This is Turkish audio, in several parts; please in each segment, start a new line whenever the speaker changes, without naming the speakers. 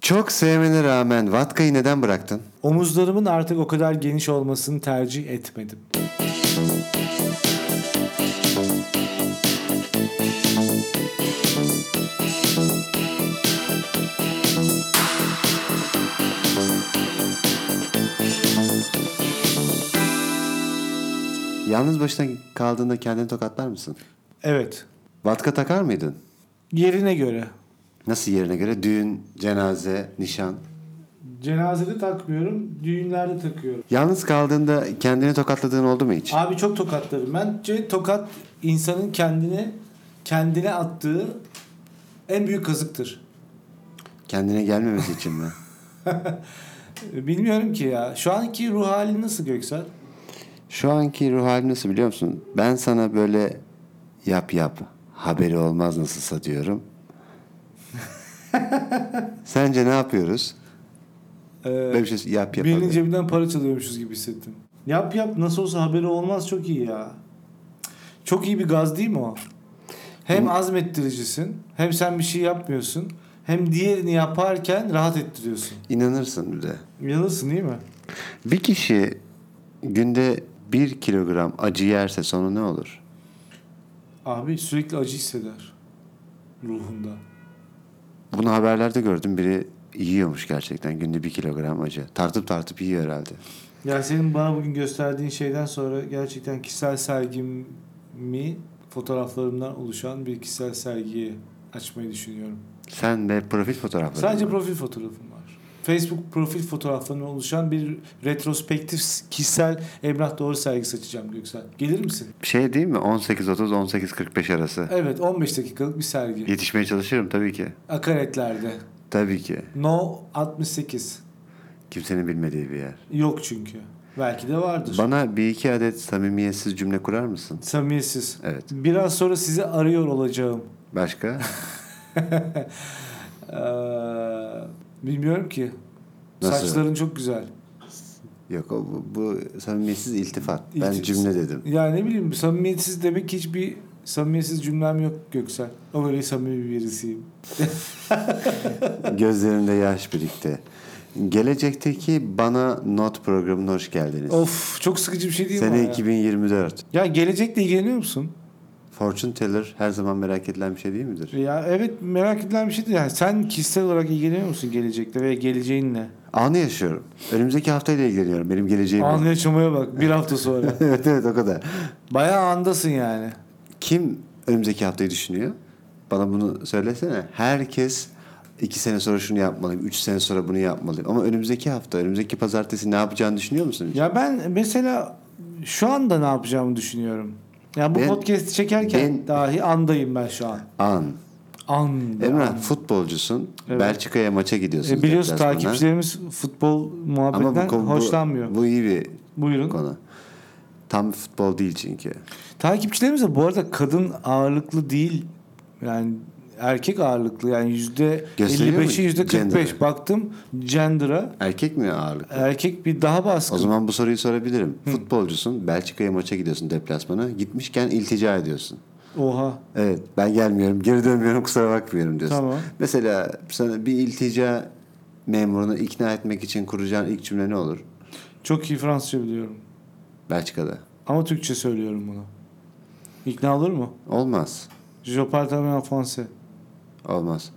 Çok sevmene rağmen Vatka'yı neden bıraktın?
Omuzlarımın artık o kadar geniş olmasını tercih etmedim.
Yalnız başına kaldığında kendini tokatlar mısın?
Evet.
Vatka takar mıydın?
Yerine göre.
Nasıl yerine göre? Düğün, cenaze, nişan.
Cenazede takmıyorum, düğünlerde takıyorum.
Yalnız kaldığında kendini tokatladığın oldu mu hiç?
Abi çok tokatlarım. Bence tokat insanın kendine kendine attığı en büyük kazıktır.
Kendine gelmemesi için mi?
Bilmiyorum ki ya. Şu anki ruh halin nasıl Göksel?
Şu anki ruh halim nasıl biliyor musun? Ben sana böyle yap yap haberi olmaz nasılsa diyorum. Sence ne yapıyoruz?
Ee,
Böyle bir şey yap yap.
Birinin
haberi.
cebinden para çalıyormuşuz gibi hissettim. Yap yap nasıl olsa haberi olmaz çok iyi ya. Çok iyi bir gaz değil mi o? Hem azmettiricisin, hem sen bir şey yapmıyorsun, hem diğerini yaparken rahat ettiriyorsun.
İnanırsın bir de.
İnanırsın değil mi?
Bir kişi günde bir kilogram acı yerse sonu ne olur?
Abi sürekli acı hisseder ruhunda.
Bunu haberlerde gördüm. Biri yiyormuş gerçekten günde bir kilogram acı. Tartıp tartıp yiyor herhalde.
Ya senin bana bugün gösterdiğin şeyden sonra gerçekten kişisel sergimi fotoğraflarımdan oluşan bir kişisel sergiyi açmayı düşünüyorum.
Sen de profil fotoğrafları.
Sadece profil fotoğrafım var. Facebook profil fotoğraflarından oluşan bir retrospektif kişisel Emrah Doğru sergisi açacağım Göksel. Gelir misin?
Şey değil mi? 18.30-18.45 arası.
Evet 15 dakikalık bir sergi.
Yetişmeye çalışırım tabii ki.
Akaretlerde.
Tabii ki.
No 68.
Kimsenin bilmediği bir yer.
Yok çünkü. Belki de vardır.
Bana bir iki adet samimiyetsiz cümle kurar mısın?
Samimiyetsiz.
Evet.
Biraz sonra sizi arıyor olacağım.
Başka?
Ee, bilmiyorum ki.
Nasıl?
Saçların çok güzel.
Yok o- bu, bu samimiyetsiz iltifat. Ben
İlti-
cümle dedim.
Yani ne bileyim samimiyetsiz demek ki hiçbir samimiyetsiz cümlem yok Göksel. O öyle samimi birisiyim.
Gözlerimde yaş birikti. Gelecekteki Bana Not programına hoş geldiniz.
Of çok sıkıcı bir şey değil mi? o
Sene
ya?
2024.
Ya gelecekle ilgileniyor musun?
Fortune teller her zaman merak edilen bir şey değil midir?
Ya evet merak edilen bir şeydir. Yani sen kişisel olarak ilgileniyor musun gelecekle veya geleceğinle?
Anı yaşıyorum. Önümüzdeki haftayla ilgileniyorum. Benim geleceğim. yok.
Anı yaşamaya bak bir hafta sonra.
evet evet o kadar.
Bayağı andasın yani.
Kim önümüzdeki haftayı düşünüyor? Bana bunu söylesene. Herkes iki sene sonra şunu yapmalıyım, üç sene sonra bunu yapmalıyım. Ama önümüzdeki hafta, önümüzdeki pazartesi ne yapacağını düşünüyor musun?
Ya ben mesela şu anda ne yapacağımı düşünüyorum. Ya bu
Ben-
podcast'i çekerken
ben-
dahi andayım ben şu an.
An.
Anda.
Emrah futbolcusun.
Evet.
Belçika'ya maça gidiyorsun.
E, biliyorsun
deplasmana.
takipçilerimiz futbol muhabbetinden
konu-
hoşlanmıyor.
Bu iyi bir
Buyurun.
konu. Tam futbol değil çünkü.
Takipçilerimiz de bu arada kadın ağırlıklı değil. Yani erkek ağırlıklı yani yüzde
Gösteriyor mu
55'i yüzde 45
gender'ı?
baktım gender'a
Erkek mi ağırlık?
erkek bir daha baskın.
O zaman bu soruyu sorabilirim. Futbolcusun, Belçika'ya maça gidiyorsun deplasmana. Gitmişken iltica ediyorsun.
Oha.
Evet ben gelmiyorum, geri dönmüyorum kusura bakmıyorum diyorsun.
Tamam.
Mesela sana bir iltica memurunu ikna etmek için kuracağın ilk cümle ne olur
Çok iyi Fransızca biliyorum.
Belçika'da?
Ama Türkçe söylüyorum bunu. İkna olur mu?
Olmaz.
Je parle très bien français.
Olmaz.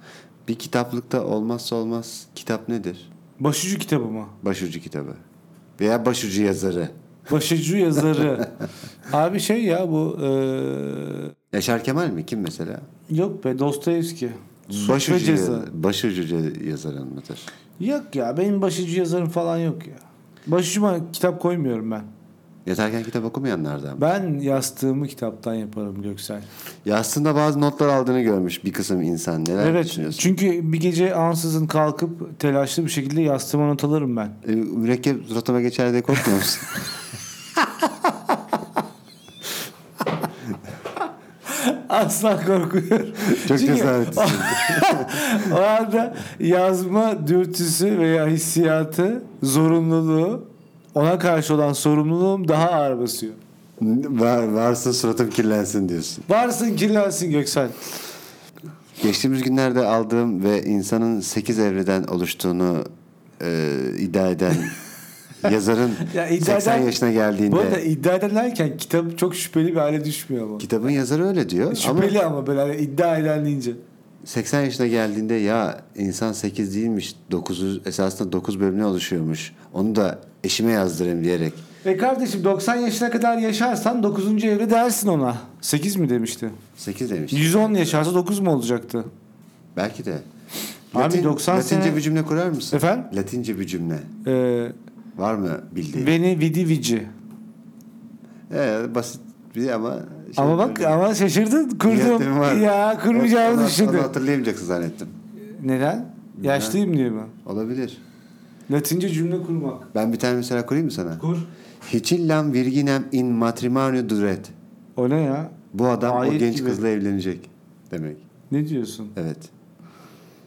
Bir kitaplıkta olmazsa olmaz kitap nedir?
Başucu kitabı mı?
Başucu kitabı. Veya başucu yazarı.
Başucu yazarı. Abi şey ya bu e,
Yaşar Kemal mi? Kim mesela?
yok be Dostoyevski. Suç ve
Başucu,
ceza.
ya- başucu ce- yazarın mıdır?
Yok ya benim başucu yazarım falan yok ya. Başucuma kitap koymuyorum ben.
Yatarken kitap okumayanlardan. mı?
Ben yastığımı kitaptan yaparım Göksel.
Yastığında bazı notlar aldığını görmüş bir kısım insan. Neler
evet
düşünüyorsun?
çünkü bir gece ansızın kalkıp telaşlı bir şekilde yastığıma not alırım ben.
E, mürekkep suratıma geçer diye korkmuyor musun?
Asla korkuyorum.
Çok
Çünkü
cesaretlisin.
o anda yazma dürtüsü veya hissiyatı, zorunluluğu, ona karşı olan sorumluluğum daha ağır basıyor.
Var, varsın suratım kirlensin diyorsun.
Varsın kirlensin Göksel.
Geçtiğimiz günlerde aldığım ve insanın 8 evreden oluştuğunu e, iddia eden yazarın
Ya iddia
80
eden-
yaşına
Bu arada
geldiğinde
iddia ederlerken kitap çok şüpheli bir hale düşmüyor ama.
kitabın yazarı öyle diyor ama
Şüpheli ama, böyle hani iddia eden deyince.
80 yaşına geldiğinde ya insan 8 değilmiş 9 esasında 9 bölümle oluşuyormuş. Onu da eşime yazdırayım diyerek.
E kardeşim 90 yaşına kadar yaşarsan 9. evre dersin ona. 8 mi demişti?
8 demiş.
110 yaşarsa 9 mu olacaktı?
Belki de.
Abi 90
Latince
sene-
bir cümle kurar mısın?
Efendim?
Latince bir cümle.
Ee,
Var mı bildiğin?
beni vidi vici.
Ee, basit bir ama... şey-
Ama bak ama şaşırdın
Niyetim
kurdum.
var.
Ya kurmayacağımı
Onu-
düşündüm.
Onu hatırlayamayacaksın zannettim.
Neden? Yaşlıyım diye mi?
Olabilir.
Latince cümle kurmak.
Ben bir tane mesela kurayım mı sana?
Kur.
Hicillam virginem in matrimonio duret.
O ne ya?
Bu adam o
Ayet
genç
gibi.
kızla evlenecek demek.
Ne diyorsun?
Evet.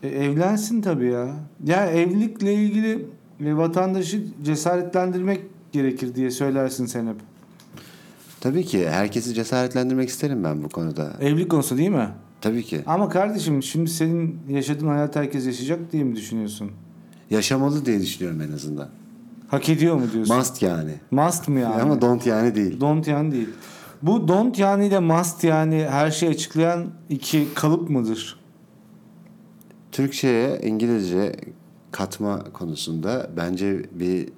E, evlensin tabii ya. Ya evlilikle ilgili e, vatandaşı cesaretlendirmek gerekir diye söylersin sen hep.
Tabii ki herkesi cesaretlendirmek isterim ben bu konuda.
Evlilik konusu değil mi?
Tabii ki.
Ama kardeşim şimdi senin yaşadığın hayat herkes yaşayacak diye mi düşünüyorsun?
Yaşamalı diye düşünüyorum en azından.
Hak ediyor mu diyorsun?
Must yani.
Must mı yani?
Ama don't yani değil.
Don't yani değil. Bu don't yani ile must yani her şeyi açıklayan iki kalıp mıdır?
Türkçe'ye İngilizce katma konusunda bence bir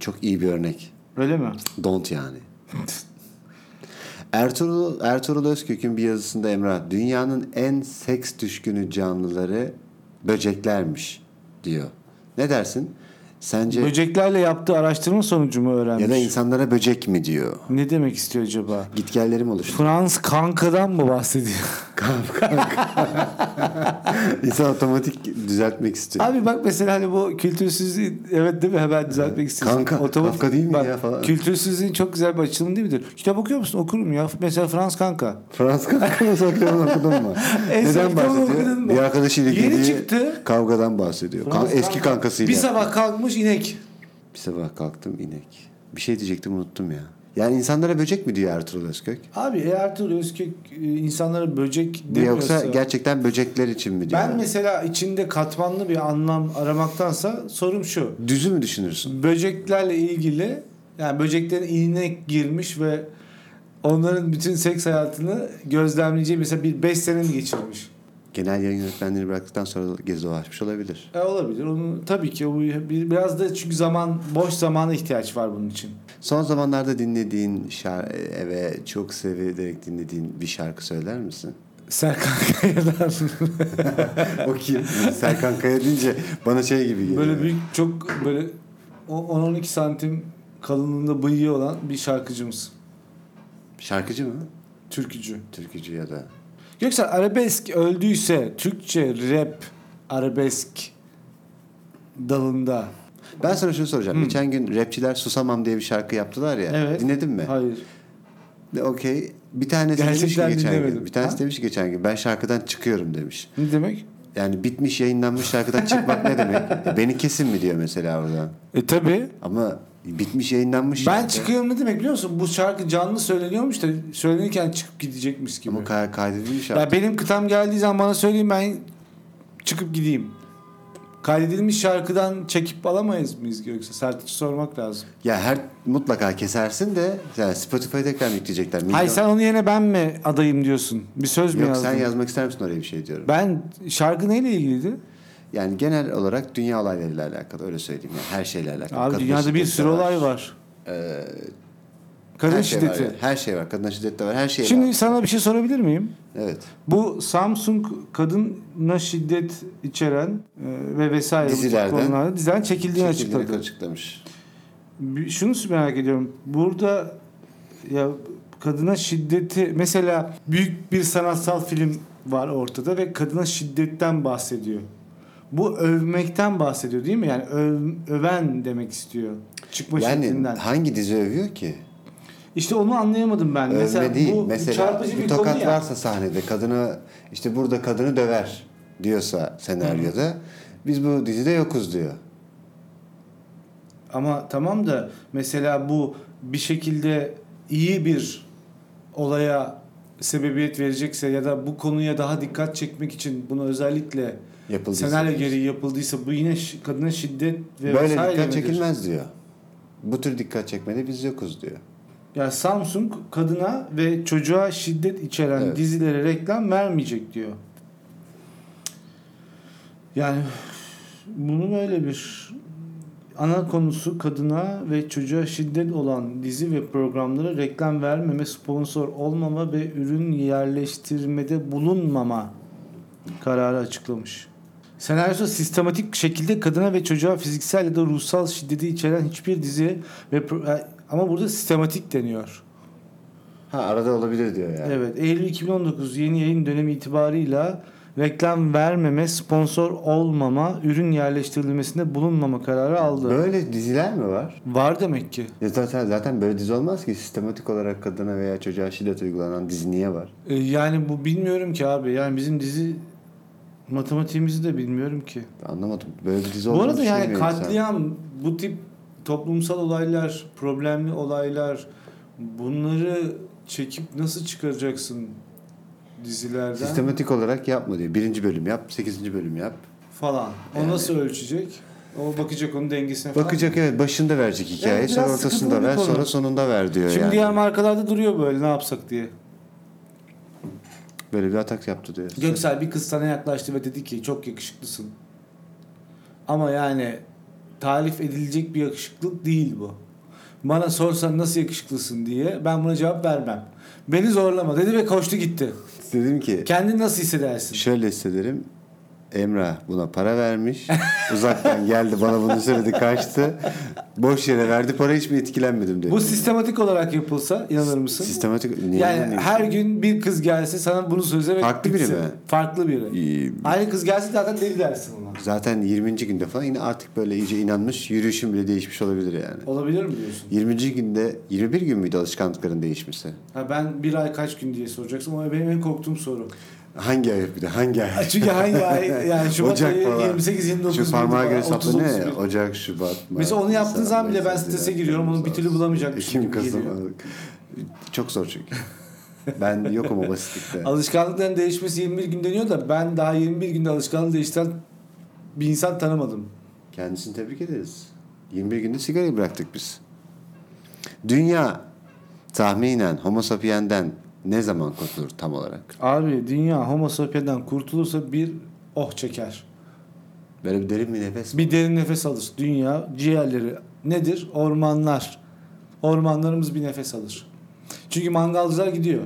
çok iyi bir örnek.
Öyle mi?
Don't yani. Ertuğrul, Ertuğrul Özkök'ün bir yazısında Emrah dünyanın en seks düşkünü canlıları böceklermiş diyor. Ne dersin? Sence
Böceklerle yaptığı araştırma sonucu mu öğrenmiş?
ya da insanlara böcek mi diyor?
Ne demek istiyor acaba?
Gitgellerim oluştu.
Frans kankadan mı bahsediyor?
İnsan otomatik düzeltmek istiyor.
Abi bak mesela hani bu kültürsüzlüğü evet değil mi hemen düzeltmek istiyorsun.
Kanka, kanka değil mi
bak,
ya falan.
Kültürsüzlüğün çok güzel bir açılımı değil midir? Kitap okuyor musun? Okurum ya. Mesela Frans kanka.
Frans Kankan'ın Sokrat'ını okudun mu?
En
Neden
son kitabı
bahsediyor?
okudun mu?
Bir arkadaşıyla
Yeni
girdiği
çıktı.
kavgadan bahsediyor. Kan-
Frans
eski
kanka.
kankasıyla.
Bir sabah kalkmış inek.
Bir sabah kalktım inek. Bir şey diyecektim unuttum ya. Yani insanlara böcek mi diyor Ertuğrul Özkök?
Abi e, Ertuğrul Özkök e, insanlara böcek demiyorsa...
Yoksa gerçekten böcekler için mi diyor?
ben mesela içinde katmanlı bir anlam aramaktansa sorum şu.
Düzü mü düşünürsün?
Böceklerle ilgili yani böceklerin inek girmiş ve onların bütün seks hayatını gözlemleyeceği mesela bir 5 sene mi geçirmiş?
Genel yayın yönetmenliğini bıraktıktan sonra gezi açmış olabilir.
E, olabilir. Onu tabii ki o bir- biraz da çünkü zaman boş zamana ihtiyaç var bunun için.
Son zamanlarda dinlediğin şarkı ve çok severek dinlediğin bir şarkı söyler misin?
Serkan Kaya'dan
o kim? Serkan Kaya deyince bana şey gibi geliyor.
böyle büyük çok böyle o- 10-12 santim kalınlığında bıyığı olan bir şarkıcımız.
Şarkıcı mı?
Türkücü.
Türkücü ya da.
Yoksa arabesk öldüyse Türkçe rap arabesk dalında.
Ben sana şunu soracağım. Geçen gün rapçiler Susamam diye bir şarkı yaptılar ya.
Evet.
Dinledin mi?
Hayır.
De, Okey. Bir tanesi demiş ki
Gerçekten
geçen gün.
dinlemedim.
Bir tanesi
Ha?
demiş ki geçen gün ben şarkıdan çıkıyorum demiş.
Ne demek?
Yani bitmiş yayınlanmış şarkıdan çıkmak ne demek? E, Beni kesin mi diyor mesela orada.
E tabi.
Ama bitmiş yayınlanmış.
Ben
şarkı.
çıkıyorum ne demek biliyor musun? Bu şarkı canlı söyleniyormuş da söylenirken çıkıp gidecekmiş gibi.
Ama ka- kaydedilmiş şarkı.
Ya benim kıtam geldiği zaman bana söyleyin ben çıkıp gideyim. Kaydedilmiş şarkıdan çekip alamayız mıyız yoksa? Sertaç'ı sormak lazım.
Ya her mutlaka kesersin de yani Spotify'a tekrar mı yükleyecekler? Milyon-
Hayır sen onun yerine ben mi adayım diyorsun? Bir söz mü
Yok
yazdın?
sen yazmak ister misin oraya bir şey diyorum.
Ben şarkı neyle ilgiliydi?
Yani genel olarak dünya olaylarıyla alakalı öyle söyleyeyim. Yani her şeyle alakalı.
Abi
Kadın
dünyada bir
şiddeti
sürü
var. Ee,
olay var. Kadın
her
şiddeti.
Şey var, her şey var. Kadına şiddet de var. Her şey
Şimdi
var.
sana bir şey sorabilir miyim?
Evet.
Bu Samsung kadına şiddet içeren e, ve vesaire bu tip
Dizilerden-
konularda diziden çekildiğini
Çekildiğini
açıkladı.
açıklamış.
Bir- Şunu merak ediyorum. Burada ya kadına şiddeti mesela büyük bir sanatsal film var ortada ve kadına şiddetten bahsediyor. Bu övmekten bahsediyor değil mi? Yani öv- öven demek istiyor. Çıkma
Yani
şeklinden.
hangi dizi övüyor ki?
İşte onu anlayamadım ben. mesela
Övme değil.
bu
Mesela
çarpıcı
bir,
bir, konu
tokat
ya.
varsa sahnede kadını işte burada kadını döver diyorsa senaryoda biz bu dizide yokuz diyor.
Ama tamam da mesela bu bir şekilde iyi bir olaya sebebiyet verecekse ya da bu konuya daha dikkat çekmek için bunu özellikle
Yapıldıysa.
senaryo gereği yapıldıysa bu yine şi- kadına şiddet ve
Böyle
vesaire
dikkat
midir?
çekilmez diyor. Bu tür dikkat çekmede biz yokuz diyor.
Ya Samsung kadına ve çocuğa şiddet içeren
Evet.
dizilere reklam vermeyecek diyor. Yani bunu böyle bir ana konusu kadına ve çocuğa şiddet olan dizi ve programlara reklam vermeme, sponsor olmama ve ürün yerleştirmede bulunmama kararı açıklamış. Senaryosu sistematik şekilde kadına ve çocuğa fiziksel ya da ruhsal şiddeti içeren hiçbir dizi ve pro- e, ama burada sistematik deniyor.
Ha arada olabilir diyor yani.
Evet, Eylül 2019 yeni yayın dönemi itibarıyla reklam vermeme, sponsor olmama, ürün yerleştirilmesinde bulunmama kararı aldı.
Böyle diziler mi var?
Var demek ki.
Ya zaten zaten böyle dizi olmaz ki sistematik olarak kadına veya çocuğa şiddet uygulanan dizi niye var?
E, yani bu bilmiyorum ki abi. Yani bizim dizi matematiğimizi de bilmiyorum ki.
Anlamadım. Böyle bir dizi şey
Bu
olduğunu
arada yani
düşünmüyorum sen.
katliam, bu tip toplumsal olaylar, problemli olaylar bunları çekip nasıl çıkaracaksın dizilerden
Sistematik olarak yapma diyor. Birinci bölüm yap, sekizinci bölüm yap.
falan. O nasıl ölçecek? O bakacak onun dengesine falan.
Bakacak evet başında verecek hikaye,
Evet, biraz
sonra ortasında
sıkıntılı bir
ver,
konu.
sonra sonunda ver diyor
Şimdi
yani.
diğer markalarda duruyor böyle ne yapsak diye.
Böyle bir atak yaptı diyor.
Göksel bir kız sana yaklaştı ve dedi ki çok yakışıklısın. Ama yani tarif edilecek bir yakışıklık değil bu. Bana sorsan nasıl yakışıklısın diye ben buna cevap vermem. Beni zorlama dedi ve koştu gitti.
Dedim ki
Kendini nasıl hissedersin?
şöyle hissederim. Emrah buna para vermiş. Uzaktan geldi bana bunu söyledi kaçtı. Boş yere verdi para hiç mi etkilenmedim dedim.
Bu sistematik olarak yapılsa inanır mısın?
Sistematik. Niye
Yani
inanayım?
her gün bir kız gelse sana bunu söze ve
Farklı biri
bitsin.
mi?
Farklı biri.
İyi.
Aynı kız gelse zaten deli dersin ona.
Zaten 20. günde falan yine artık böyle iyice inanmış yürüyüşüm bile değişmiş olabilir yani.
Olabilir mi diyorsun?
20. günde 21 gün müydü alışkanlıkların değişmesi?
Ha ben bir ay kaç gün diye soracaksın ama benim en korktuğum soru.
Hangi ay bir de hangi ay?
Çünkü hangi ay yani Şubat
Ocak
ayı
falan.
28 29
Şu parmağa göre
30,
hesaplı ne?
31.
Ocak, Şubat, Mart.
Mesela onu yaptığın
Nisan,
zaman bile
Mayıs,
ben strese
Haziran,
giriyorum, onu bir
Temmuz,
türlü
Ağustos,
bulamayacakmışım
Ekim,
gibi
Kasım.
geliyor.
Aralık. Çok zor çünkü. Ben yokum o basitlikte.
Alışkanlıkların değişmesi 21 gün deniyor da ben daha 21 günde alışkanlığı değiştiren bir insan tanımadım.
Kendisini tebrik ederiz. 21 günde sigarayı bıraktık biz. Dünya tahminen homo sapiens'den ne zaman kurtulur tam olarak?
Abi dünya homo sapiens'den kurtulursa bir oh çeker.
Böyle bir derin bir nefes.
Bir derin nefes alır. Dünya ciğerleri nedir? Ormanlar. Ormanlarımız bir nefes alır. Çünkü mangalcılar gidiyor.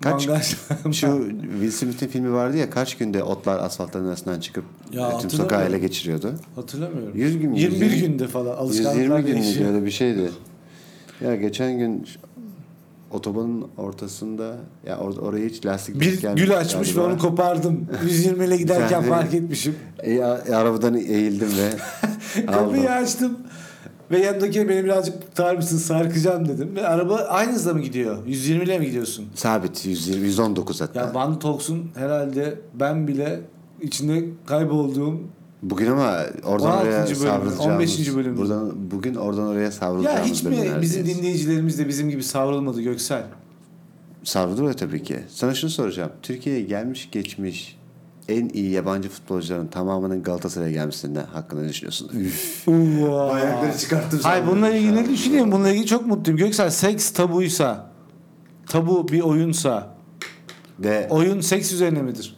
Kaç-
Mangal-
Şu Will Smith'in filmi vardı ya kaç günde otlar asfaltların arasından çıkıp
Ya
tüm
hatırlamıyorum.
sokağı ele geçiriyordu.
Hatırlamıyorum.
100 gün mü?
21
120
günde falan
120
alışkanlıklar
gün müydü
değişiyor.
öyle bir şeydi. Ya geçen gün şu- otobanın ortasında ya or- oraya hiç lastik denk
Bir
gelmemiş
gül açmış ve
galiba.
onu kopardım. 120 ile giderken
Sen de-
fark etmişim.
E, a- arabadan eğildim ve
Kapıyı
aldım.
açtım. Ve yanındaki beni birazcık tutar mısın sarkacağım dedim. Ve araba aynı hızla mı gidiyor? 120 ile mi gidiyorsun?
Sabit 120 119 hatta.
Ya Van Talks'un herhalde ben bile içinde kaybolduğum
Bugün ama oradan
16.
oraya
bölüm,
savrulacağımız.
15. bölüm.
Buradan bugün oradan oraya
ya
savrulacağımız.
hiç mi
bölümlerdeyiz.
bizim dinleyicilerimiz de bizim gibi savrulmadı Göksel?
Savruluyor tabii ki. Sana şunu soracağım. Türkiye'ye gelmiş geçmiş en iyi yabancı futbolcuların tamamının Galatasaray'a gelmesinden hakkında ne düşünüyorsun? Üf. Ayakları çıkarttım.
Hayır bununla ilgili ne düşünüyorum? Bununla ilgili çok mutluyum. Göksel seks tabuysa, tabu bir oyunsa,
Ve,
oyun seks üzerine midir?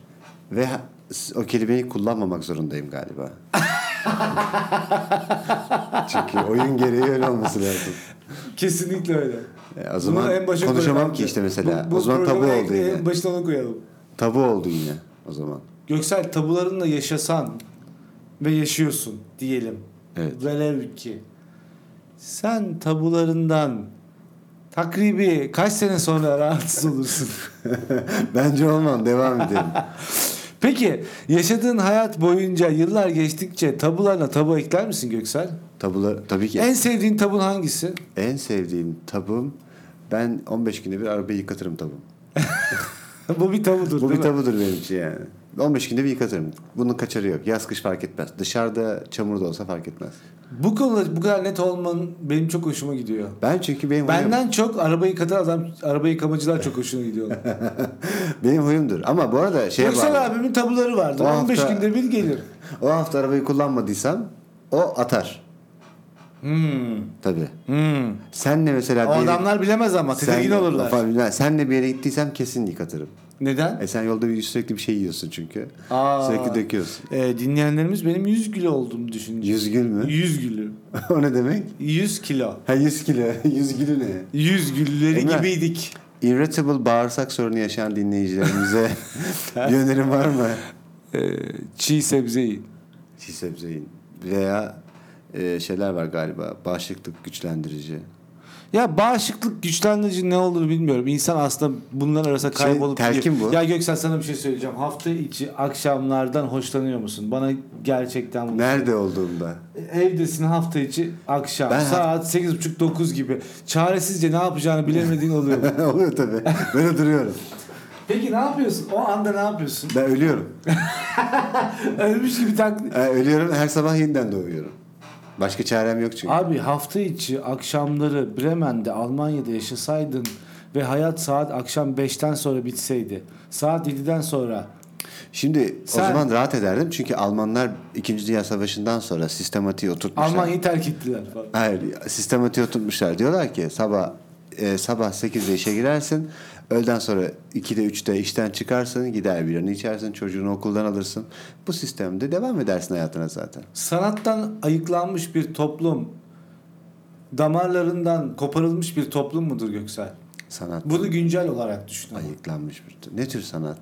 ve ha- s- o kelimeyi kullanmamak zorundayım galiba. Çünkü oyun gereği öyle olması lazım.
Kesinlikle öyle.
E, o
Bunu
zaman
başa koyalım
konuşamam
bence.
ki işte mesela.
Bu- bu
o zaman tabu
programı en-
oldu yine.
En başına onu koyalım.
Tabu oldu yine o zaman.
Göksel tabularınla yaşasan ve yaşıyorsun diyelim.
Evet.
Velev ki sen tabularından takribi kaç sene sonra rahatsız olursun.
Bence olmam. Devam edelim.
Peki yaşadığın hayat boyunca yıllar geçtikçe tabularına tabu ekler misin Göksel?
Tabular, tabii ki
En sevdiğin tabun hangisi?
En sevdiğim tabum ben 15 günde bir arabayı yıkatırım tabum.
Bu bir tabudur
Bu
değil
bir
mi?
tabudur benim için yani. 15 günde bir yıkatırım. Bunun kaçarı yok. Yaz kış fark etmez. Dışarıda çamur da olsa fark etmez.
Bu konuda bu kadar net olman benim çok hoşuma gidiyor.
Ben çünkü benim huyum,
Benden çok araba yıkatan adam, araba yıkamacılar çok hoşuna gidiyorlar.
benim huyumdur. Ama bu arada şeye bağlı.
Yüksel abimin tabuları vardı.
O
15
Şey hafta-
günde bir gelir.
O hafta arabayı kullanmadıysam o atar.
Hmm.
Tabii.
Hmm.
Senle mesela
O
bir yere-
adamlar bilemez ama tedirgin
Senle-
olurlar.
Falan filan. Senle bir yere gittiysem kesin yıkatırım.
Neden?
E sen yolda bir sürekli bir şey yiyorsun çünkü.
Aa.
Sürekli döküyorsun.
Ee, dinleyenlerimiz benim 100 kilo olduğumu düşünüyor.
Yüz gül mü?
100 kilo.
o ne demek?
100 kilo.
Ha 100 kilo. 100 kilo ne?
100 gülleri
Emre.
gibiydik.
Irritable bağırsak sorunu yaşayan dinleyicilerimize bir önerim var mı? E,
Ee, çiğ sebze yiyin.
Çiğ sebze yiyin. Veya e, şeyler var galiba. Bağışıklık güçlendirici.
Ya bağışıklık güçlendirici ne olur bilmiyorum. İnsan aslında bunlar arasında
Şey,
kaybolup gidiyor.
telkin bu.
Ya Göksel sana bir şey söyleyeceğim. Hafta içi akşamlardan hoşlanıyor musun? Bana gerçekten bunu
Nerede olduğumda.
Evdesin hafta içi akşam
Ben-
saat 8.30-9 gibi. Çaresizce ne yapacağını bilemediğin oluyor.
Oluyor tabii. Böyle duruyorum.
Peki ne yapıyorsun? O anda ne yapıyorsun?
Ben ölüyorum.
Ölmüş gibi tak...
E, ölüyorum her sabah yeniden doğuyorum. Başka çarem yok çünkü.
Abi hafta içi akşamları Bremen'de Almanya'da yaşasaydın ve hayat saat akşam 5'ten sonra bitseydi. Saat 7'den sonra
Şimdi o
Sen-
zaman rahat ederdim çünkü Almanlar 2. Dünya Savaşı'ndan sonra sistematiği oturtmuşlar.
Almanya'yı terk ettiler falan.
Hayır, sistematiği oturtmuşlar. Diyorlar ki sabah e, sabah 8'de işe girersin. Öğleden sonra 2'de 3'te işten çıkarsın, gider birini içersin, çocuğunu okuldan alırsın. Bu sistemde devam edersin hayatına zaten.
Sanattan ayıklanmış bir toplum, damarlarından koparılmış bir toplum mudur Göksel?
Sanat
Bunu güncel olarak düşün. ama.
ayıklanmış bir tür. Ne tür sanat?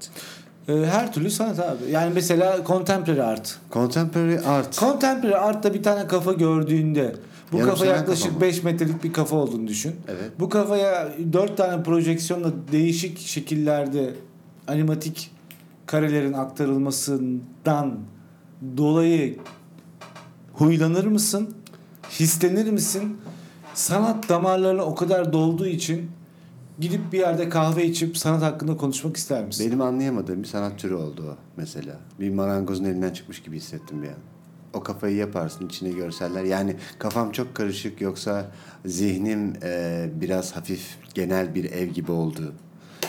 Ee, her türlü sanat abi. Yani mesela contemporary art.
Contemporary art.
Contemporary art'ta bir tane kafa gördüğünde bu
Yarım
kafa
seren
yaklaşık
kafa mı?
5 metrelik bir kafa olduğunu düşün.
Evet.
Bu kafaya 4 tane projeksiyonla değişik şekillerde animatik karelerin aktarılmasından dolayı huylanır mısın? Hislenir misin? Sanat damarlarına o kadar dolduğu için gidip bir yerde kahve içip sanat hakkında konuşmak ister misin?
Benim anlayamadığım bir sanat türü oldu o mesela. Bir marangozun elinden çıkmış gibi hissettim bir an. O kafayı yaparsın içine görseller. Yani kafam çok karışık yoksa zihnim eee, biraz hafif genel bir ev gibi oldu.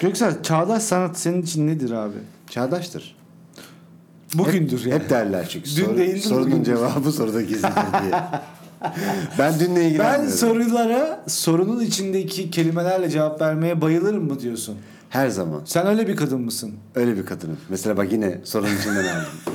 Göksel çağdaş sanat senin için nedir abi?
Çağdaştır.
Bugündür yani.
Hep derler çünkü.
Dün
Soru-
değildir,
sorunun
bugündür.
cevabı soruda gizlidir diye. ben dünle ilgilenmiyorum.
Ben sorulara sorunun içindeki kelimelerle cevap vermeye bayılırım mı diyorsun?
Her zaman.
Sen öyle bir kadın mısın?
Öyle bir kadınım. Mesela bak yine sorunun içinden aldım.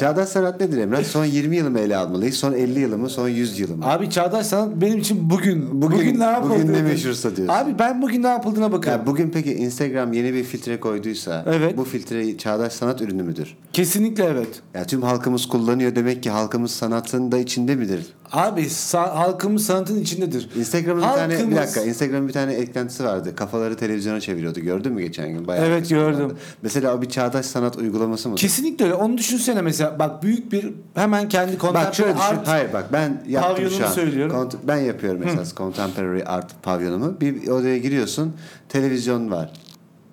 Çağdaş sanat nedir Emrah? Son 20 yılımı ele almalıyız. Son 50 yılımı, son 100 yılımı.
Abi çağdaş sanat benim için bugün. Bugün,
Bugün-
ne yapıldı?
bugün ne meşhursa diyorsun.
Abi ben bugün ne yapıldığına bakarım.
Ya bugün peki Instagram yeni bir filtre koyduysa
Evet.
bu filtre çağdaş sanat ürünü müdür?
Kesinlikle evet.
Ya tüm halkımız kullanıyor demek ki halkımız sanatın da içinde midir?
Abi sa- halkımız sanatın içindedir.
Instagram'ın bir tane
Halkımız-
bir dakika Instagram'ın bir tane eklentisi vardı. Kafaları televizyona çeviriyordu. Gördün mü geçen gün? Bayağı
Evet,
herkes kullandı.
gördüm.
Mesela o bir çağdaş sanat uygulaması mı?
Kesinlikle öyle. Onu düşünsene mesela. Bak büyük bir hemen kendi
Bak şöyle
kontemporary
düşün.
art
Hayır bak ben yaptım
Pavyonunu
şu an.
söylüyorum.
Kont- ben yapıyorum esas contemporary art pavyonumu. Bir odaya giriyorsun. Televizyon var.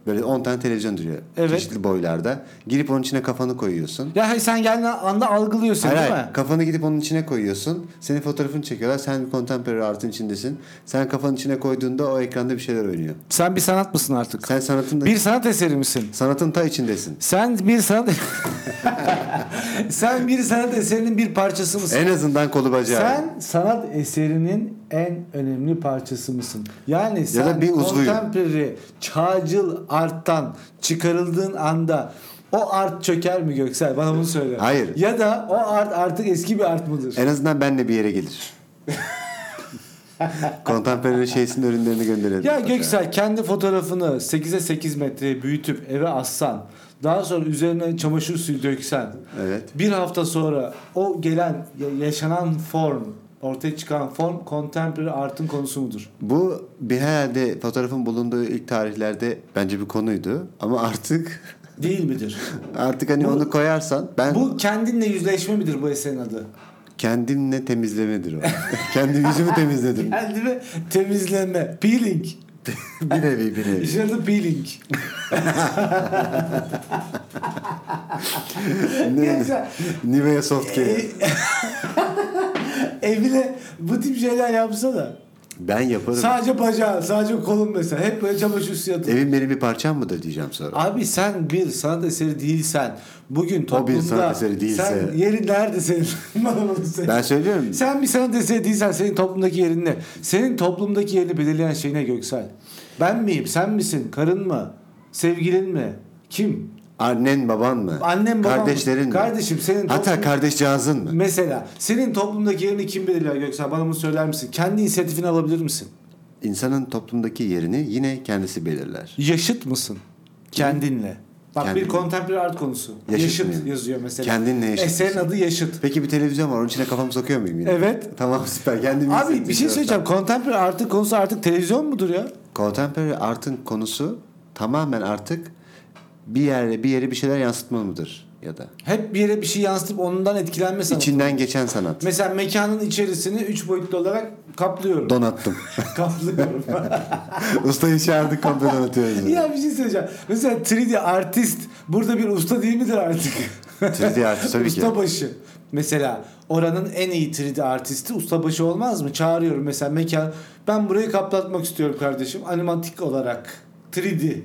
Böyle 10 tane televizyon duruyor.
Evet.
Çeşitli boylarda. Girip onun içine kafanı koyuyorsun.
ya hayır, sen geldiğin anda algılıyorsun
Hayır,
değil
hayır.
mi?
Kafanı gidip onun içine koyuyorsun. Senin fotoğrafını çekiyorlar. Sen contemporary art'ın içindesin. Sen kafanın içine koyduğunda o ekranda bir şeyler oynuyor.
Sen bir sanat mısın artık?
Sen sanatın da,
Bir sanat eseri misin?
sanatın ta içindesin.
Sen bir sanat Sen bir sanat eserinin bir parçası mısın?
En azından kolu bacağı.
Sen sanat eserinin en önemli parçası mısın? Yani sen
da bir uzvuyum.
contemporary, çağcıl arttan çıkarıldığın anda o art çöker mi Göksel? Bana bunu söyle.
Hayır.
Ya da o art artık eski bir art mıdır?
En azından benle bir yere gelir. Contemporary şeysin ürünlerini gönderelim.
Ya Göksel kendi fotoğrafını 8'e 8 metreye büyütüp eve assan daha sonra üzerine çamaşır suyu döksen
Evet.
bir hafta sonra o gelen ya- yaşanan form ortaya çıkan form contemporary art'ın konusu mudur?
Bu bir herhalde fotoğrafın bulunduğu ilk tarihlerde bence bir konuydu. Ama artık
Değil midir?
artık hani onu koyarsan ben
bu kendinle yüzleşme midir bu eserin adı?
kendimle temizlemedir o. Kendim yüzümü temizledim.
Kendimi temizleme. Peeling.
bir nevi bir nevi.
İşin adı peeling.
Ne-
Neyse. Ee,
Nivea soft care.
E- Evine bu tip şeyler yapsa da.
Ben yaparım.
Sadece bacağı, sadece kolun mesela. Hep böyle çamaşır suyu atılır.
Evin benim bir parçam mıdır diyeceğim sonra.
Abi sen bir sanat eseri değilsen, bugün
O bir
toplumda
sanat eseri değilse-
sen yerin nerede senin? Bana bunu söyle.
Ben söylüyorum.
Sen bir sanat eseri değilsen senin toplumdaki yerin ne? Senin toplumdaki yerini belirleyen şey ne Göksel? Ben miyim? Sen misin? Karın mı? Sevgilin mi? Kim?
Annen baban mı?
Annem babam mı?
Kardeşlerin mi?
Kardeşim senin
Hatta
toplum-
kardeşcağızın mı?
Mesela senin toplumdaki yerini kim belirliyor Göksel? Bana bunu söyler misin? Kendi inisiyatifini alabilir misin?
İnsanın toplumdaki yerini yine kendisi belirler.
Yaşıt mısın? Kendinle. Bak
Kendinle.
bir contemporary art konusu.
Yaşıt
Yaşıt,
mıyım?
yazıyor mesela.
Kendinle yaşıt
Eserin
mısın?
adı Yaşıt.
Peki bir televizyon var onun içine kafamı sokuyor muyum yine?
Evet.
Tamam süper kendimi
Abi bir şey söyleyeceğim. Contemporary artık konusu artık televizyon mudur ya?
Contemporary art'ın konusu tamamen artık bir yere bir yere bir şeyler yansıtma mıdır ya da
Hep bir yere bir şey yansıtıp ondan etkilenme sanatı.
içinden geçen sanat.
Mesela mekanın içerisini 3 boyutlu olarak kaplıyorum.
Donattım.
kaplıyorum.
Ustayı çağırdık komple donatıyoruz.
ya bir şey söyleyeceğim. Mesela 3D artist burada bir usta değil midir artık?
3D artist tabii ki.
Ustabaşı. Mesela oranın en iyi 3D artisti ustabaşı olmaz mı? Çağırıyorum mesela mekan. Ben burayı kaplatmak istiyorum kardeşim. Animatik olarak. 3D.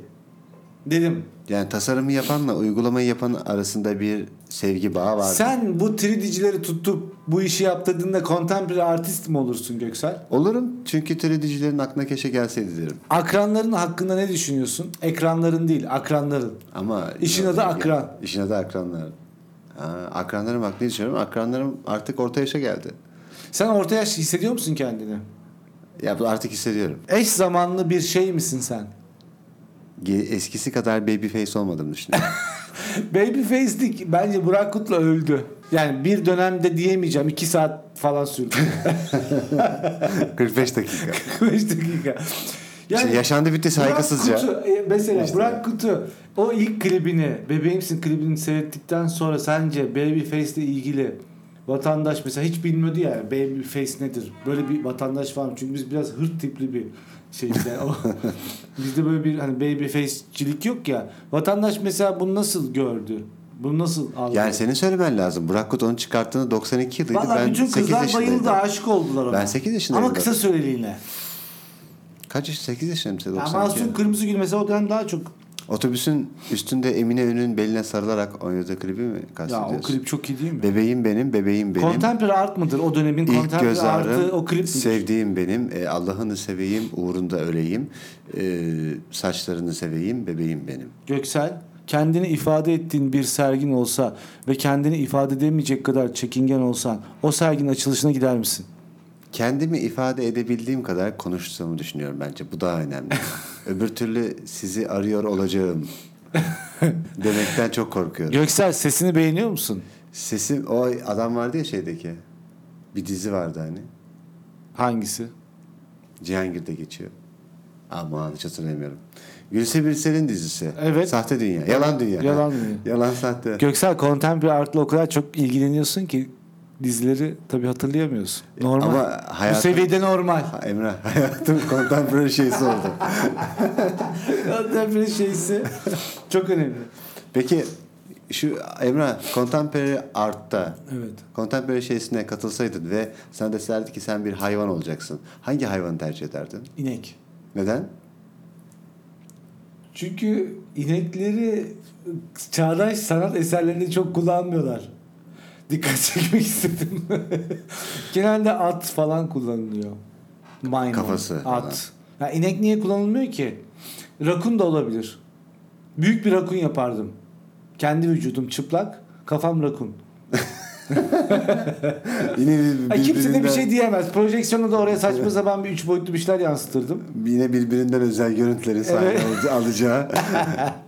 Dedim.
Yani tasarımı yapanla uygulamayı yapan arasında bir sevgi bağı var.
Sen bu 3D'cileri tutup bu işi yaptırdığında contemporary artist mi olursun Göksel?
Olurum çünkü 3D'cilerin aklına keşke gelseydi derim.
Akranların hakkında ne düşünüyorsun? Ekranların değil, akranların.
Ama
İşin adı akran.
İşin adı akranlar. Ha, akranlarım bak ne düşünüyorum? Akranlarım artık orta yaşa geldi.
Sen orta yaş hissediyor musun kendini?
Ya bu artık hissediyorum.
Eş zamanlı bir şey misin sen?
Ge- Eskisi kadar baby face olmadım düşünüyorum.
Babyface'lik bence Burak Kut'la öldü. Yani bir dönemde diyemeyeceğim. iki saat falan sürdü.
45 dakika.
5 dakika.
İşte yaşandı bitti
Burak
saygısızca.
Kutu, e, mesela
İşte.
Burak Kutu o ilk klibini Bebeğimsin klibini seyrettikten sonra sence Babyface ile ilgili vatandaş mesela hiç bilmiyordu ya Babyface nedir? Böyle bir vatandaş var mı? Çünkü biz biraz hırt tipli bir şeyiz yani. O- Bizde böyle bir hani Babyface'cilik yok ya. Vatandaş mesela bunu nasıl gördü? Bunu nasıl aldı?
Yani senin söylemen lazım. Burak Kut onu çıkarttığında 92 yılıydı.
Valla
ben
bütün
8
kızlar
yaşındaydım.
bayıldı aşık oldular ona.
Ben 8 yaşındaydım.
Ama kısa süreliğine.
Kaç yaş? 8 yaşındayım işte,
Ya
92.
Masum Kırmızı Gül mesela o dönem daha çok.
Otobüsün üstünde Emine Ün'ün beline sarılarak oynadığı klibi mi
Ya
kastediyorsun?
o klip çok iyi değil mi?
Bebeğim benim, bebeğim benim.
Contemporary art mıdır? O dönemin
İlk
contemporary
göz
artı
ağrım,
o klip midir?
sevdiğim benim, e, Allah'ını seveyim, uğrunda öleyim, e, saçlarını seveyim, bebeğim benim.
Göksel kendini ifade ettiğin bir sergin olsa ve kendini ifade edemeyecek kadar çekingen olsan o serginin açılışına gider misin?
Kendimi ifade edebildiğim kadar konuştuğumu düşünüyorum bence. Bu daha önemli. Öbür türlü sizi arıyor olacağım demekten çok korkuyorum.
Göksel sesini beğeniyor musun?
Sesim, o adam vardı ya şeydeki, bir dizi vardı hani.
Hangisi?
Cihangir'de geçiyor. Aman hiç hatırlamıyorum. Gülse Birsel'in dizisi.
Evet.
Sahte Dünya. Yalan Dünya.
Yalan Dünya.
Yalan Sahte.
Göksel contemporary artla o kadar çok ilgileniyorsun ki dizileri tabii hatırlayamıyorsun. Normal.
Ama hayatım-
Bu seviyede normal.
Ha, Emrah hayatım kontemporary şeysi oldu.
Contemporary şeysi çok önemli.
Peki şu Emrah contemporary art'ta
Evet.
contemporary şeysine katılsaydın ve sana deselerdi ki sen bir hayvan olacaksın. Hangi hayvanı tercih ederdin?
İnek.
Neden?
Çünkü inekleri çağdaş sanat eserlerinde çok kullanmıyorlar. Dikkat çekmek istedim. Genelde at falan kullanılıyor. Maymun,
Kafası falan.
At. Ya inek niye kullanılmıyor ki? Rakun da olabilir. Büyük bir rakun yapardım. Kendi vücudum çıplak, kafam rakun.
Yine bir-
Ya kimse de bir
birbirinden-
şey diyemez. Projeksiyonda da oraya saçma sapan bir üç boyutlu bir şeyler yansıtırdım.
Yine birbirinden özel görüntülerin sahne
Evet.
alaca- alacağı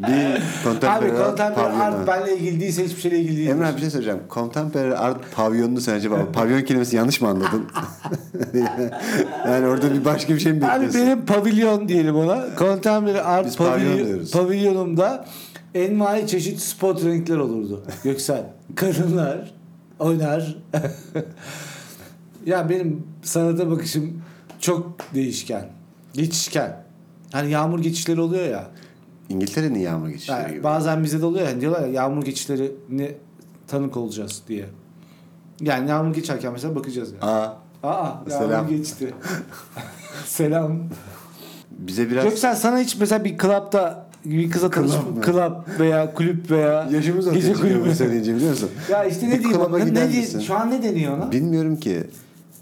bir
Abi
contemporary,
contemporary
pavyonu.
art benimle ilgili değilse hiçbir şeyle ilgili değil.
Emrah bir şey söyleyeceğim. Contemporary art pavyonunu sen acaba pavyon kelimesi yanlış mı anladın? yani orada bir başka bir şey mi
Abi
bekliyorsun?
benim pavilyon diyelim ona. Contemporary Art
Biz pavyon
pavilyon-
diyoruz.
pavilyonumda envai çeşit spot renkler olurdu. Göksel. Kadınlar oynar. ya benim sanata bakışım çok değişken. Geçişken. Hani yağmur geçişleri oluyor ya.
İngiltere'nin yağmur geçişleri
Yani
Şey gibi.
bazen bize de oluyor ya. Hani diyorlar ya yağmur geçişlerine tanık olacağız diye. Yani yağmur geçerken mesela bakacağız. Yani.
Aa
Aa,
Selam.
selam. geçti. selam.
Bize biraz
Göksel sana hiç mesela bir club'da bir kıza
Club
tanış
mı?
club veya kulüp veya
yaşımız ortaya
gece
çıkıyor bu
kulübü.
söyleyince biliyor musun?
Ya işte
Bir
ne diyeyim?
club'a
Ne,
gider
ne diye-
misin?
şu an ne deniyor ona?
Bilmiyorum ki.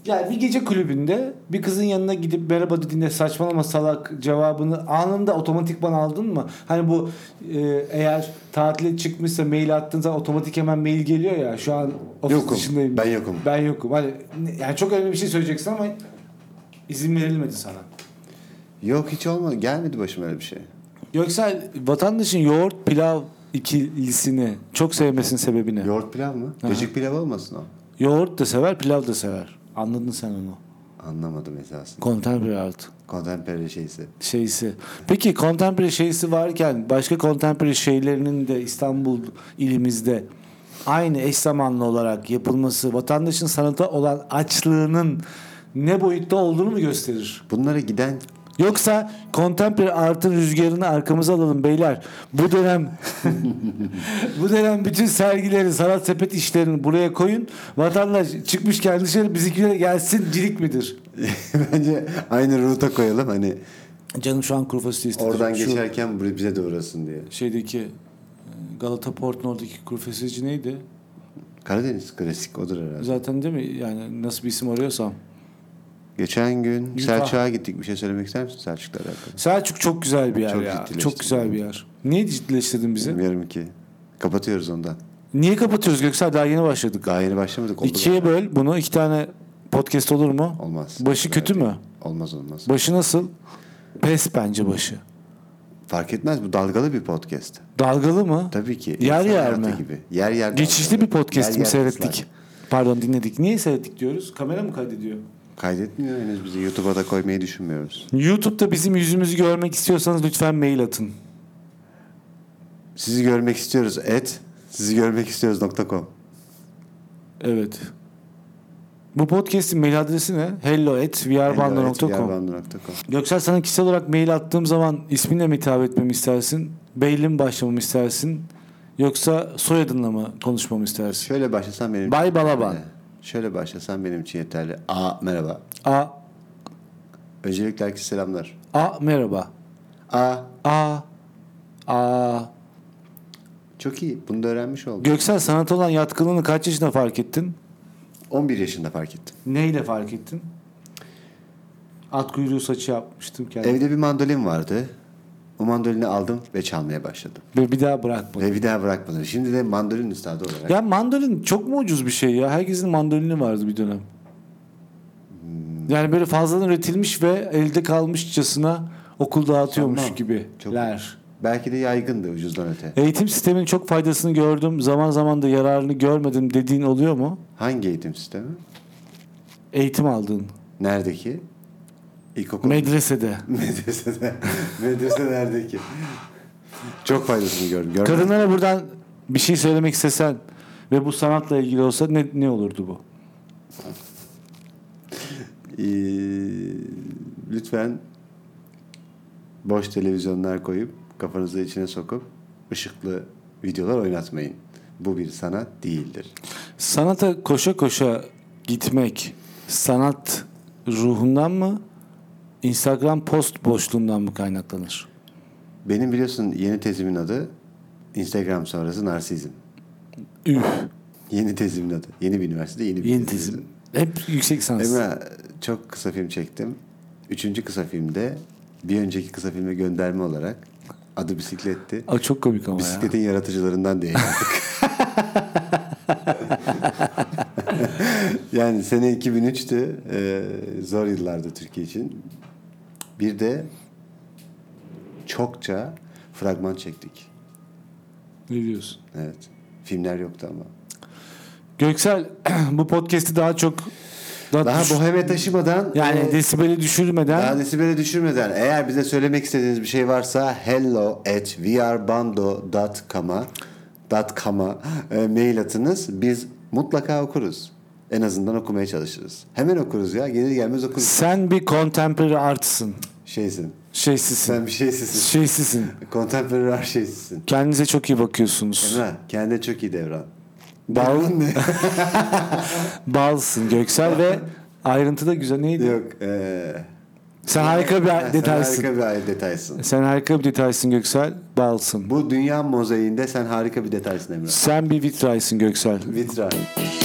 Yani bir gece kulübünde bir kızın yanına gidip merhaba dediğinde saçmalama salak cevabını anında otomatikman aldın mı? Hani bu e, eğer tatile çıkmışsa mail attığın zaman otomatik hemen mail geliyor ya şu an ofis
Yokum.
dışındayım.
Ben yokum.
Ben yokum. Hani ne- yani çok önemli bir şey söyleyeceksin ama izin verilmedi sana.
Yok hiç olmadı. Gelmedi başıma öyle bir şey.
Yoksa vatandaşın yoğurt pilav ikilisini çok sevmesinin sebebi ne?
Yoğurt pilav mı?
Aha.
Böcek pilav olmasın o.
Yoğurt da sever, pilav da sever. Anladın sen onu.
Anlamadım esasında.
Contemporary art.
Kontemporary şeysi.
şeysi. Peki contemporary şeysi varken başka contemporary şeylerinin de İstanbul ilimizde aynı eş zamanlı olarak yapılması vatandaşın sanata olan açlığının ne boyutta olduğunu mu gösterir?
Bunlara giden
Yoksa contemporary art'ın rüzgarını arkamıza alalım beyler. Bu dönem bu dönem bütün sergileri, sanat sepet işlerini buraya koyun. Vatandaş çıkmışken dışarı bizimkilere gelsin cilik midir?
bence aynı ruta koyalım hani
Canım şu an kuru fasulye istedi.
oradan
Şu-
geçerken bur- bize de uğrasın diye.
şeydeki e, Galata Port'un oradaki kuru fasulyeci neydi?
Karadeniz klasik odur herhalde.
Zaten değil mi? Yani nasıl bir isim arıyorsam.
Geçen gün
Yufka.
Selçuk'a gittik. Bir şey söylemek ister misin Selçuk'la alakalı?
Selçuk çok güzel bir yer
Çok
ya.
ciddileştirdim.
Çok güzel bir yer. Niye ciddileştirdin bizi?
Bilmiyorum ki. Kapatıyoruz ondan.
Niye kapatıyoruz Göksel? Daha yeni başladık.
Daha yeni başlamadık. oldu
İkiye böl bunu. iki tane podcast olur mu?
da. Olmaz.
Başı kötü mü?
Olmaz olmaz.
Başı nasıl? Pes bence başı.
Fark etmez bu dalgalı bir podcast.
Dalgalı mı?
Tabii ki.
Yer
İnsan
yer
hayatı
mi?
Gibi. Yer yer.
Geçişli
dalgalı.
bir podcast
Yer
mi
yer
seyrettik?
ıslak.
Pardon dinledik. Niye seyrettik diyoruz? Kamera mı kaydediyor?
Kaydetmiyor henüz bizi. YouTube'a da koymayı düşünmüyoruz.
YouTube'da bizim yüzümüzü görmek istiyorsanız lütfen mail atın.
Sizi görmek istiyoruz. Et. Sizi görmek istiyoruz.com.
Evet. Bu podcast'in mail adresi ne? hello at vrbandı.com Göksel sana kişisel olarak mail attığım zaman isminle mi hitap etmemi istersin? Beyle mi başlamamı istersin? Yoksa soyadınla mı konuşmamı istersin?
Şöyle başlasan benim
Bay
için yeterli.
Balaban.
Şöyle başlasan benim için yeterli. A merhaba.
A,
Öncelikle herkese selamlar.
a merhaba.
A
A, a.
çok iyi. Bunu da öğrenmiş oldum.
Göksel sanata olan yatkınlığını kaç yaşında fark ettin?
11 yaşında fark ettim.
Neyle fark ettin? At kuyruğu saçı yapmıştım kendime.
Evde bir mandolin vardı. O mandolini aldım ve çalmaya başladım.
Ve bir daha bırakmadım.
Ve bir daha bırakmadım. Şimdi de mandolin üstadı olarak.
Ya mandolin çok mu ucuz bir şey ya? Herkesin mandolini vardı bir dönem. Yani böyle fazladan üretilmiş ve elde kalmışçasına okul dağıtıyormuş
Sanmam.
gibi.
Çok-
Ler.
Belki de yaygındı ucuzdan öte.
Eğitim sisteminin çok faydasını gördüm, zaman zaman da yararını görmedim dediğin oluyor mu?
Hangi eğitim sistemi?
Eğitim aldın.
Neredeki? İlkokul.
Medresede.
Medresede. Medrese neredeki? Çok faydasını gördüm. Görmedim.
Kadınlara buradan bir şey söylemek istesen ve bu sanatla ilgili olsa ne, ne olurdu bu?
Ee, lütfen boş televizyonlar koyup kafanızı içine sokup ışıklı videolar oynatmayın. Bu bir sanat değildir.
Sanata koşa koşa gitmek sanat ruhundan mı Instagram post boşluğundan mı kaynaklanır?
Benim biliyorsun yeni tezimin adı Instagram sonrası narsizm.
Üf.
Yeni tezimin adı. Yeni bir üniversitede yeni bir
Yeni
tezimin adı.
tezim. Hep yüksek sans.
Emre çok kısa film çektim. Üçüncü kısa filmde bir önceki kısa filme gönderme olarak adı bisikletti.
Aa, çok komik ama ya.
Bisikletin yaratıcılarından değil. yani sene 2003'tü. Ee, zor yıllardı Türkiye için. Bir de çokça fragman çektik.
Ne diyorsun?
Evet. Filmler yoktu ama.
Göksel bu podcast'i daha çok daha, düş-
Daha boheme taşımadan
yani
e,
desibeli düşürmeden
Daha desibeli düşürmeden eğer bize söylemek istediğiniz bir şey varsa hello at vrbando.com'a .com'a e, mail atınız. Biz mutlaka okuruz. En azından okumaya çalışırız. Hemen okuruz ya. Gelir gelmez okuruz.
sen bir contemporary artsın.
Şeysin.
Şeysisin.
Sen bir şeysisin.
Şeysisin.
Contemporary art şeysisin.
Kendinize çok iyi bakıyorsunuz.
Emre kendine çok iyi devran.
Bal,
ne?
balsın Göksel ve Ayrıntı da güzel. Neydi?
Yok. eee,
Sen harika bir
sen
detaysın.
harika bir ay- detaysın.
Sen harika bir detaysın Göksel. Balsın.
Bu dünya mozaiğinde sen harika bir detaysın Emrah.
Sen bir vitraysın Göksel.
Vitray.